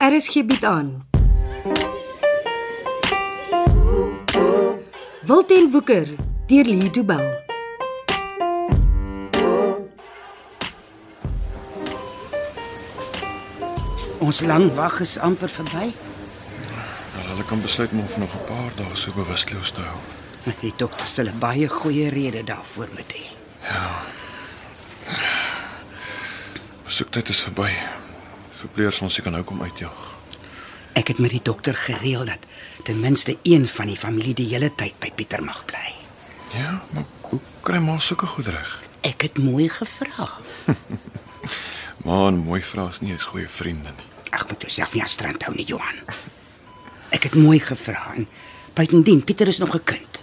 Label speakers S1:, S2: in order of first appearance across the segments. S1: RSG bied Er aan. Wilten Woeker deur Lee Du Bell.
S2: Ons lang wag is amper verby.
S3: Maar hulle kan besluit om hom vir nog 'n paar dae so bewusteloos te hou.
S2: Die dokter sal 'n baie goeie rede daarvoor moet hê.
S3: Besoektyd is verby. Verpleegers ons kan nou kom uitjag.
S2: Ek het met die dokter gereël dat ten minste een van die familie die hele tyd by Pieter mag bly.
S3: Ja, maar hoe kry maar sulke goed reg?
S2: Ek het mooi gevra.
S3: Ma en mooi vra is nie eens goeie vriende nie.
S2: Ag, moet jouself nie aan strand hou nie, Johan. Ek het mooi gevra en buitendien Pieter is nog 'n kind.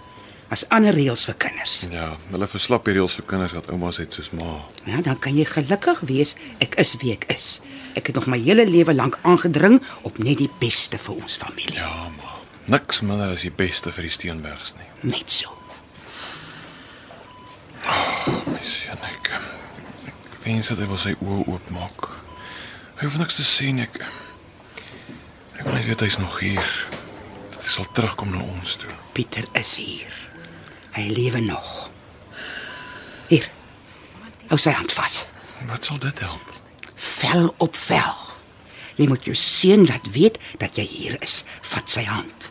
S2: As ander reëls vir kinders.
S3: Ja, hulle verslap die reëls vir kinders wat oumas het soos ma.
S2: Ja, dan kan jy gelukkig wees ek is wie ek is. Ek het nog my hele lewe lank aangedring op net die beste vir ons familie.
S3: Ja, ma. Niks minder as die beste vir die Steenbergs nie.
S2: Net so.
S3: My seun, ja, ek ek wens dat hy wil sy oë oopmaak. Hy hoef niks te sê nie. Ek ek wil net weet hy's nog hier. Dat hy sal terugkom na ons toe.
S2: Pieter is hier. Hy lewe nog. Hier. Hou sy hand vas.
S3: Wat sal dit help?
S2: Vel op vel. Jy moet jou seun laat weet dat jy hier is. Vat sy hand.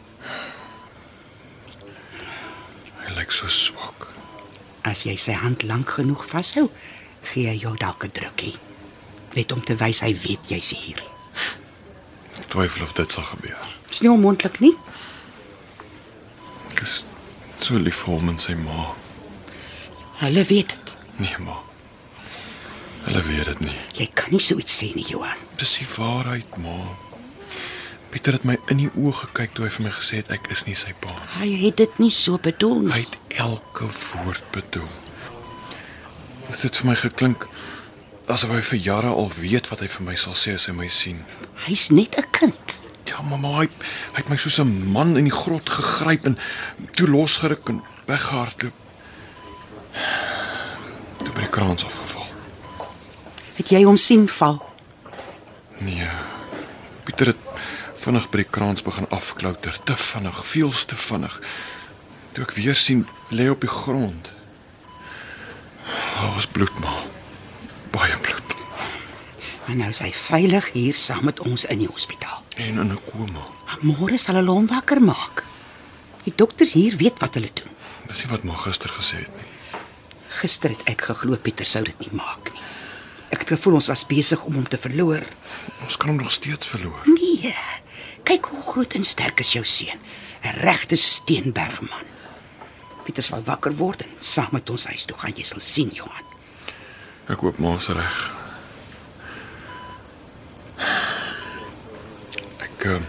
S3: Hy lyk so swak.
S2: As jy sy hand lank genoeg vashou, gee hy jou dalk 'n drukkie. Net om te wys hy weet jy's hier.
S3: Ek twyfel of dit sal gebeur.
S2: Dis nie onmoontlik nie.
S3: Ek is so lief vir hom en sy ma.
S2: Hulle weet dit.
S3: Nee, ma. Hulle weet dit nie.
S2: Jy kan nie so iets sê nie, Johan.
S3: Dis die waarheid, ma. Pieter het my in die oë gekyk toe hy vir my gesê het ek is nie sy pa nie.
S2: Hy het dit nie so bedoel
S3: Hy
S2: nie.
S3: het elke woord bedoel. Dit het vir my geklink asof hy vir jare al weet wat hy vir my sal sê as hy my sien.
S2: Hy's net 'n kind.
S3: Ja, mamma, hy, hy het my soos 'n man in die grot gegryp en toe losgeruk en weggehardloop. Toe by die kraans afgeval.
S2: Het jy hom sien val?
S3: Nee. Pieter het vinnig by die kraans begin afklouter, te vinnig, veels te vinnig. Toe ek weer sien lê hy op die grond. Daar was bloed maar. Baie bloed.
S2: En nou is hy veilig hier saam met ons in die hospitaal.
S3: En in 'n koma.
S2: Maar Môre sal hulle hom wakker maak. Die dokters hier weet wat hulle doen.
S3: Dis nie wat ma gister gesê het nie.
S2: Gister het ek geglo Pieter sou dit nie maak nie. Ek het gevoel ons was besig om hom te verloor.
S3: Ons kan hom nog steeds verloor.
S2: Nee. Kyk hoe groot en sterk is jou seun. 'n Regte steenbergman. Pieter sal wakker word en saam met ons huis toe gaan jy sal sien, Johan.
S3: Ek hoop ma's reg. Ek ehm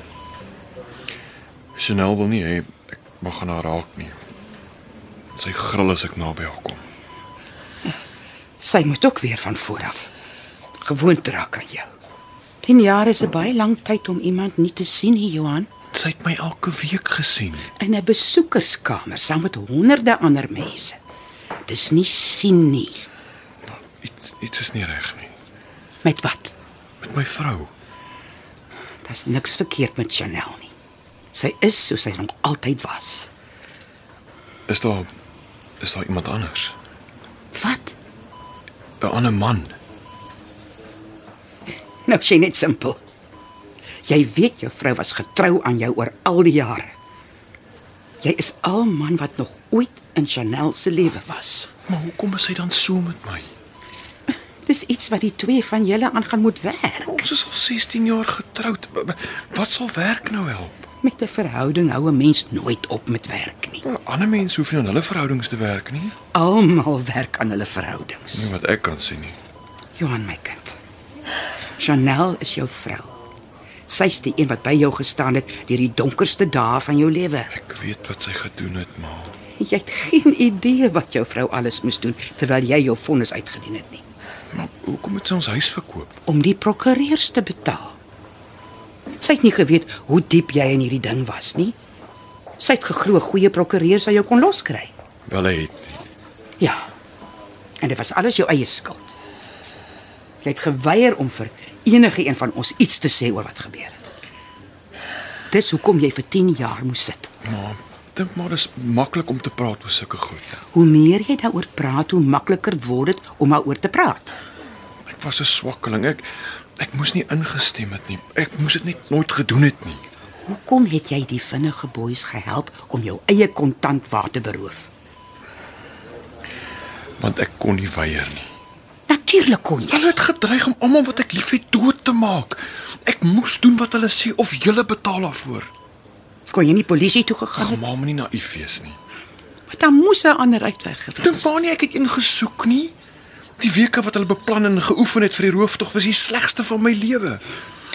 S3: Chanel wil nie hê ek mag aan haar raak nie. Sy gril as ek naby haar kom.
S2: Sy moet ook weer van voor af gewoond raak aan jou. 10 jaar is 'n baie lang tyd om iemand nie te sien nie, Johan.
S3: Sy het my elke week gesien.
S2: in 'n besoekerskamer saam met honderde ander mense. Dis nie sien nie.
S3: Iets iets is nie reg nie
S2: Met wat?
S3: met my vrou.
S2: Daar's niks verkeerd met Chanel nie. Sy is soos sy nog altyd was.
S3: Is daar is daar iemand anders?
S2: Wat?
S3: 'n Ander man.
S2: Nou sien net simpel. Jy weet jou vrou was getrou aan jou oor al die jare. Jy is al man wat nog ooit in Chanel se lewe was.
S3: Maar hoekom is sy dan so met my?
S2: Dis iets wat die twee van julle aan gaan moet werk.
S3: Ons is al 16 jaar getroud. Wa- wa- Wat sal werk nou help?
S2: Met 'n verhouding hou 'n mens nooit op met werk nie.
S3: Ander mense hoef nie aan hulle verhoudings te werk nie.
S2: Almal werk aan hulle verhoudings.
S3: Nie wat ek kan sien nie.
S2: Johan my kind. Chanel is jou vrou. Sy's die een wat by jou gestaan het deur die donkerste dae van jou lewe.
S3: Ek weet wat sy gedoen het, ma.
S2: Jy het geen idee wat jou vrou alles moes doen terwyl jy jou vonnis uitgedien het nie
S3: Maar hoekom het sy ons huis verkoop?
S2: om die prokureurs te betaal. Sy het nie geweet hoe diep jy in hierdie ding was nie. Sy het geglo goeie prokureurs sal jou kon loskry.
S3: Wel hy het nie.
S2: Ja. En dit was alles jou eie skuld. Jy het geweier om vir enige een van ons iets te sê oor wat gebeur het. Dis hoekom jy vir 10 jaar moes sit.
S3: Maar dink maar dis maklik om te praat oor sulke goed.
S2: Hoe meer jy daaroor praat, hoe makliker word dit om daaroor te praat.
S3: Ek was 'n swakkeling. Ek ek moes nie ingestem het nie. Ek moes dit net nooit gedoen het nie.
S2: Hoekom het jy die vinnige boeis gehelp om jou eie kontant waar te beroof?
S3: Want ek kon nie weier nie.
S2: Natuurlik kon jy.
S3: Hulle het gedreig om almal wat ek liefhet dood te maak. Ek moes doen wat hulle sê of julle betaal daarvoor.
S2: Kon jy nie polisie toe gegaan
S3: Ag,
S2: het?
S3: ma, moenie naïef wees nie.
S2: Maar dan moes 'n ander uitweg gewees.
S3: Dink maar nie ek het een gesoek nie. Die weke wat hulle beplan en geoefen het vir die rooftog was die slegste van my lewe.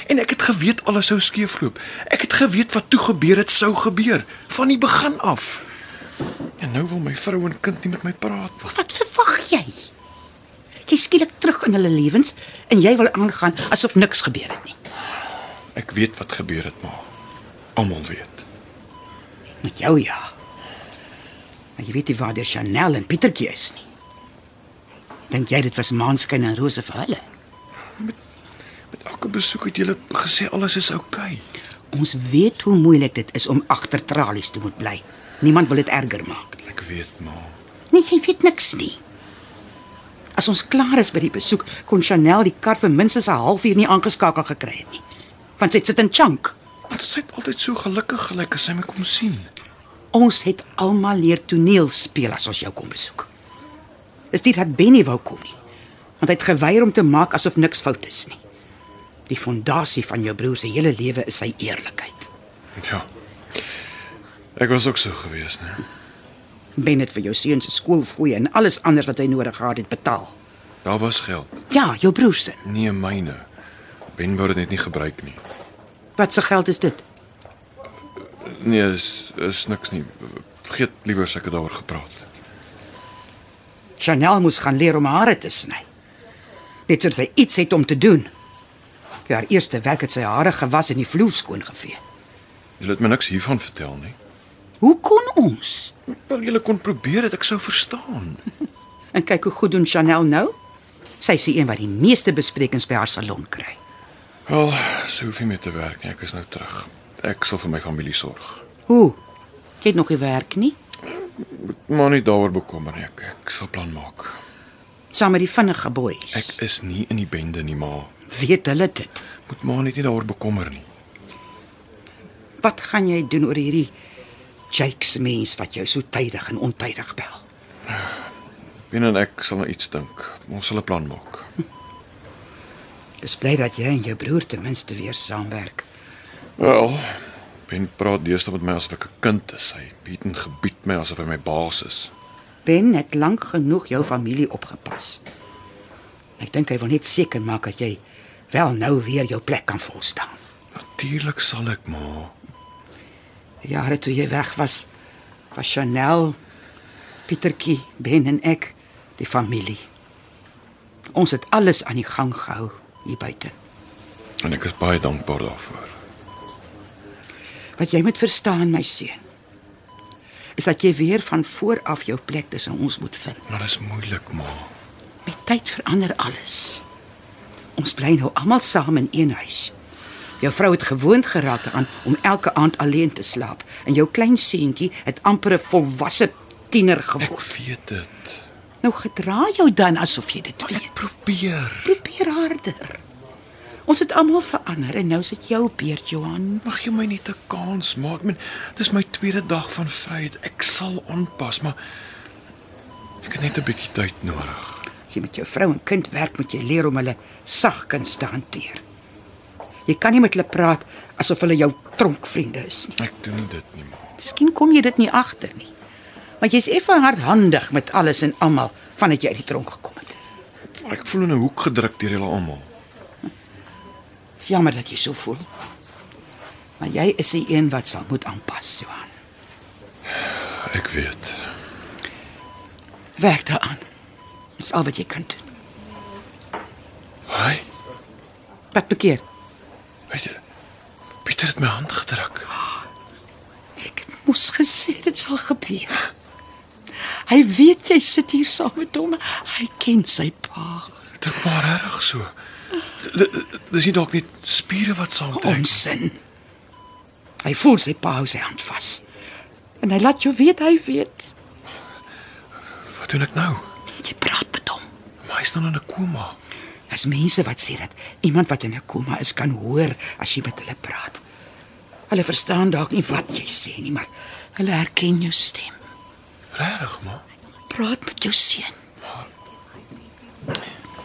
S3: En ek het geweet alles sou skeefloop. Ek het geweet wat toe gebeur het sou gebeur van die begin af. En nou wil my vrou en kind nie met my praat nie.
S2: Maar Wat verwag jy? Jy skielik terug in hulle lewens en jy wil aangaan asof niks gebeur het nie.
S3: Ek weet wat gebeur het, ma. Almal weet.
S2: Met jou ja. Maar jy weet nie waar die Chanel en Pietertjie is nie. Dink jy dit was maanskyn en rose vir hulle?
S3: Met elke besoek het julle gesê alles is oukei. Okay.
S2: Ons weet hoe moeilik dit is om agter tralies te moet bly. Niemand wil dit erger maak nie.
S3: Ek weet, ma.
S2: Nee, jy weet niks nie. As ons klaar is by die besoek, kon Chanel die kar vir minstens 'n halfuur nie aangeskakel gekry het nie. Want sy sit in chunk.
S3: Want sy het altyd so gelukkig gelyk as sy my kom sien.
S2: Ons het almal leer toneel speel as ons jou kom besoek. Is dit dat Benny wou kom nie? Want hy het geweier om te maak asof niks fout is nie. Die fondasie van jou broer se hele lewe is sy eerlikheid.
S3: Ja. Ek was ook so gewees, né?
S2: Ben het vir jou seun se skoolfooi en alles anders wat hy nodig gehad het betaal.
S3: Daar was geld.
S2: Ja, jou broer se.
S3: Nee, myne. Ben wou dit net nie gebruik nie.
S2: Wat se geld is dit?
S3: Nee, is is niks nie. Vergeet liewer as ek het daaroor gepraat.
S2: Chanel moes gaan leer om hare te sny. Net sodat sy iets het om te doen. Op haar eerste werk het sy hare gewas en die vloer skoon gevee.
S3: Jy het my niks hiervan vertel nie.
S2: Hoe kon ons?
S3: Wel, jy kon probeer dat ek sou verstaan.
S2: En kyk hoe goed doen Chanel nou. Sy is die een wat die meeste besprekings by haar salon kry.
S3: Wel, sou hoef nie meer te werk nie. Ek is nou terug. Ek sal vir my familie sorg.
S2: Hoe? Jy het nog nie werk nie,
S3: Maar nie daaroor bekommer nie. Ek, ek sal plan maak.
S2: saam met die vinnige boeis.
S3: Ek is nie in die bende nie, maar
S2: weet hulle dit.
S3: moet maar net nie daaroor bekommer nie.
S2: Wat gaan jy doen oor hierdie Jake's mens wat jou so tydig en ontydig bel?
S3: Ben en ek sal nou iets dink. Ons sal 'n plan maak.
S2: Dis bly dat jy en jou broer ten minste weer saamwerk.
S3: Wel, Ben praat deesdae met my asof ek 'n kind is. Hy bied en gebied my asof hy my baas is.
S2: Ben het lank genoeg jou familie opgepas. Ek dink hy wil net seker maak dat jy wel nou weer jou plek kan volstaan.
S3: Natuurlik sal ek maar.
S2: Die jare toe jy weg was, was Chanel, Pietertjie, Ben en ek die familie. Ons het alles aan die gang gehou hier buite.
S3: En ek is baie dankbaar daarvoor.
S2: Wat jy moet verstaan, my seun, is dat jy weer van voor af jou plek tussen ons moet vind.
S3: Maar dit is moeilik, maar.
S2: Met tyd verander alles. Ons bly nou almal saam in een huis. Jou vrou het gewoond geraak daaraan om elke aand alleen te slaap en jou klein seentjie het amper 'n volwasse tiener
S3: Ek
S2: geword.
S3: weet dit.
S2: Nou gedra jou dan asof jy dit
S3: Ek
S2: weet.
S3: probeer.
S2: Probeer harder. Ons het almal verander en nou is dit jou beurt, Johan.
S3: Mag jy my net 'n kans maak? Ek meen, dis my tweede dag van vryheid. Ek sal aanpas, maar ek het net 'n bietjie tyd nodig.
S2: As jy met jou vrou en kind werk, moet jy leer om hulle sagkens te hanteer. Jy kan nie met hulle praat asof hulle jou tronkvriende is nie.
S3: Ek doen nie dit nie, maar.
S2: Miskien kom jy dit nie agter nie. Want jy's effe hardhandig met alles en almal vandat jy uit die tronk gekom het.
S3: Ek voel in 'n hoek gedruk deur julle almal.
S2: Dis jammer dat jy so voel. Maar jy is die een wat sal moet aanpas, Johan.
S3: Ek weet.
S2: Werk daaraan. Dis al wat jy kan doen.
S3: Haai.
S2: Wat bekeer?
S3: Weet jy, Pieter het my hand gedruk.
S2: Ek het moes gesê dit sal gebeur. Hy weet jy sit hier saam met hom. Hy ken sy pa.
S3: Dit maar reg so. D- d- Dis nie dalk net spiere wat saamtrek.
S2: Onsin. Hy voel sy pa hou sy hand vas. En hy laat jou weet hy weet.
S3: Wat doen ek nou?
S2: Jy praat met hom.
S3: Maar hy's nog in 'n koma.
S2: Daar's mense wat sê dat iemand wat in 'n koma is kan hoor as jy met hulle praat. Hulle verstaan dalk nie wat jy sê nie, maar hulle herken jou stem.
S3: Regtig, maar
S2: Praat met jou seun.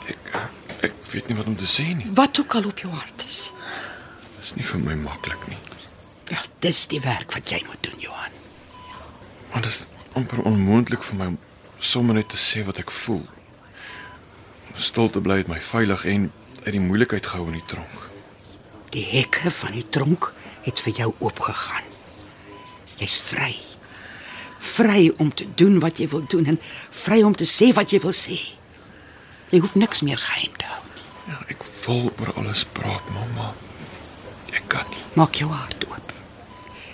S3: ek eh, ek weet nie wat om te sê nie.
S2: Wat ook al op jou hart is.
S3: Dit is nie vir my maklik nie.
S2: Ja, dis die werk wat jy moet doen, Johan.
S3: Want dit is amper onmoontlik vir my om sommer net te sê wat ek voel. Om Stil te bly het my veilig en uit die moeilikheid gehou in die tronk.
S2: Die hekke van die tronk het vir jou oopgegaan. Jy's vry. Vry om te doen wat jy wil doen en vry om te sê wat jy wil sê. Jy hoef niks meer geheim te hou. nie.
S3: Ja, ek wil oor alles praat, mamma. Ek kan nie.
S2: Maak jou hart oop.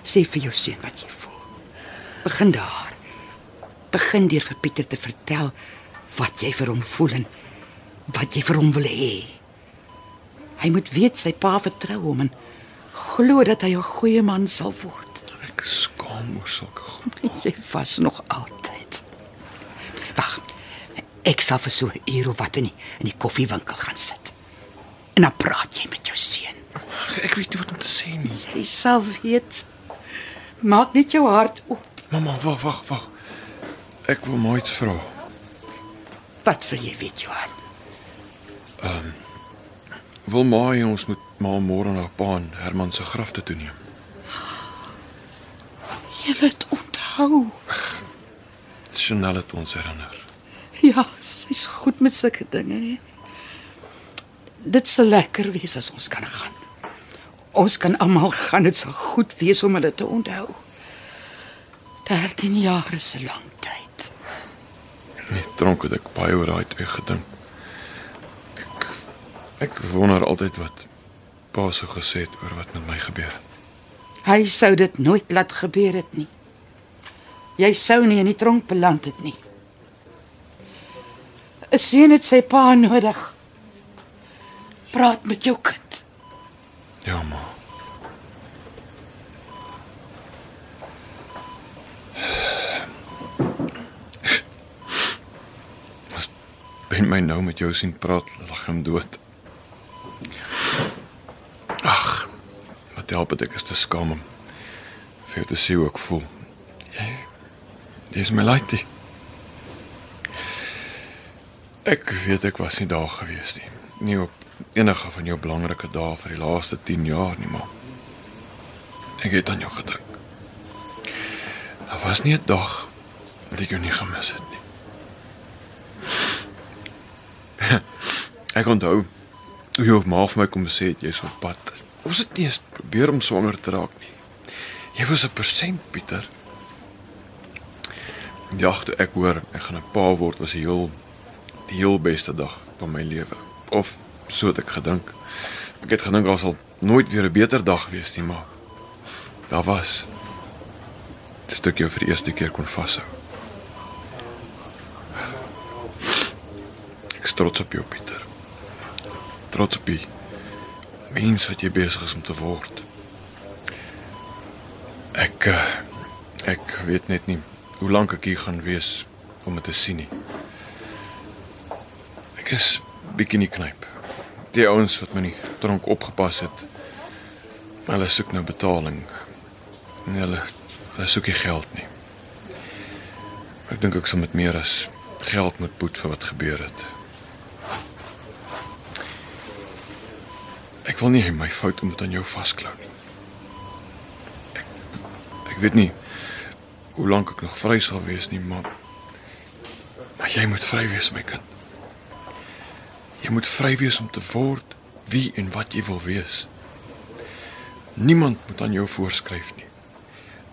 S2: Sê vir jou seun wat jy voel. Begin daar. Begin deur vir Pieter te vertel wat jy vir hom voel en wat jy vir hom wil hê. Hy moet weet sy pa vertrou hom en glo dat hy 'n goeie man sal word.
S3: Ek is skaam oor sulke goed.
S2: Jy vas nog altyd. Wag. Ek sal vir so 'n uur of wat in die, in die koffiewinkel gaan sit. En dan praat jy met jou seun.
S3: Ek weet nie wat om te sê nie.
S2: Hy sal weet. Maak net jou hart oop.
S3: Mamma, wag, wag, wag. Ek wil maar iets vra.
S2: Wat wil jy weet, Johan?
S3: Wil ma hê ons moet ma môre na pa en Herman se graf toe toeneem?
S2: Jy het onthou.
S3: Chanel het ons herinner.
S2: Ja, sy's goed met sulke dinge. hè. Dit sal lekker wees as ons kan gaan. Ons kan almal gaan. Dit sal goed wees om hulle te onthou. 13 jaar is 'n lang tyd.
S3: In die tronk het ek baie oor daai twee gedink. Ek ek wonder altyd wat pa sou gesê het oor wat met my gebeur het.
S2: Hy sou dit nooit laat gebeur het nie. Jy sou nie in die tronk beland het nie. 'n Seun het sy pa nodig. Praat met jou kind.
S3: Ja, ma. As Ben my nou met jou sien praat, lag hom dood. Ag, wat help dit ek is te skaam om vir jou te sê hoe ek voel. Jy dis my laaitie. Ek weet ek was nie daar gewees nie. Nie op enige van jou belangrike dae vir die laaste 10 jaar nie, maar ek het aan jou gedink. Daar was nie 'n dag dat ek jou nie gemis het nie. ek onthou hoe jy op ma vir my kom sê het, jy is op pad. Ons het nie eens probeer om swanger te raak nie. Jy was 'n persent, Pieter. Die dag toe ek hoor ek gaan 'n pa word was 'n heel die heel beste dag van my lewe. Of so het ek gedink. Ek het gedink daar sal nooit weer 'n beter dag wees nie, maar daar was. Dis toe ek jou vir die eerste keer kon vashou. Ek is trots op jou, Pieter. Trots op die mens wat jy besig is om te word. Ek eh, ek weet net nie hoe lank ek hier gaan wees om dit te sien nie. Ek is bietjie in die knyp. Die ouens wat my nie dronk opgepas het. Hulle soek nou betaling. En hulle hulle soek nie geld nie. Ek dink ek sal met meer as geld moet boet vir wat gebeur het. Ek wil nie hê my fout om dit aan jou vasklou nie. Ek, ek weet nie hoe lank ek nog vry sal wees nie, maar maar jy moet vry wees, my kind. Jy moet vry wees om te word wie en wat jy wil wees. Niemand moet aan jou voorskryf nie.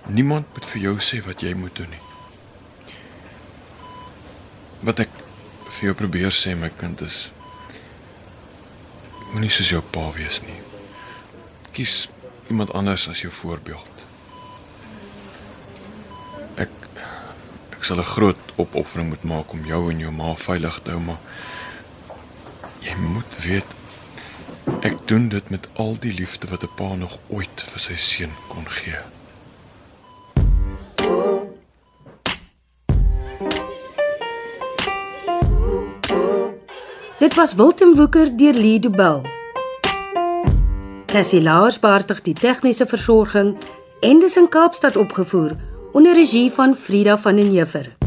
S3: Niemand moet vir jou sê wat jy moet doen nie. Wat ek vir jou probeer sê my kind is moenie soos jou pa wees nie. Kies iemand anders as jou voorbeeld. Ek ek sal 'n groot opoffering moet maak om jou en jou ma veilig te hou, maar Jy moet weet Ek doen dit met al die liefde wat 'n pa nog ooit vir sy seun kon gee.
S1: Dit was Wilten Woeker deur Lee Du Bell. Cassie Lars beheerdig die tegniese versorging en dis in Kaapstad opgevoer onder regie van Frida van den Heever.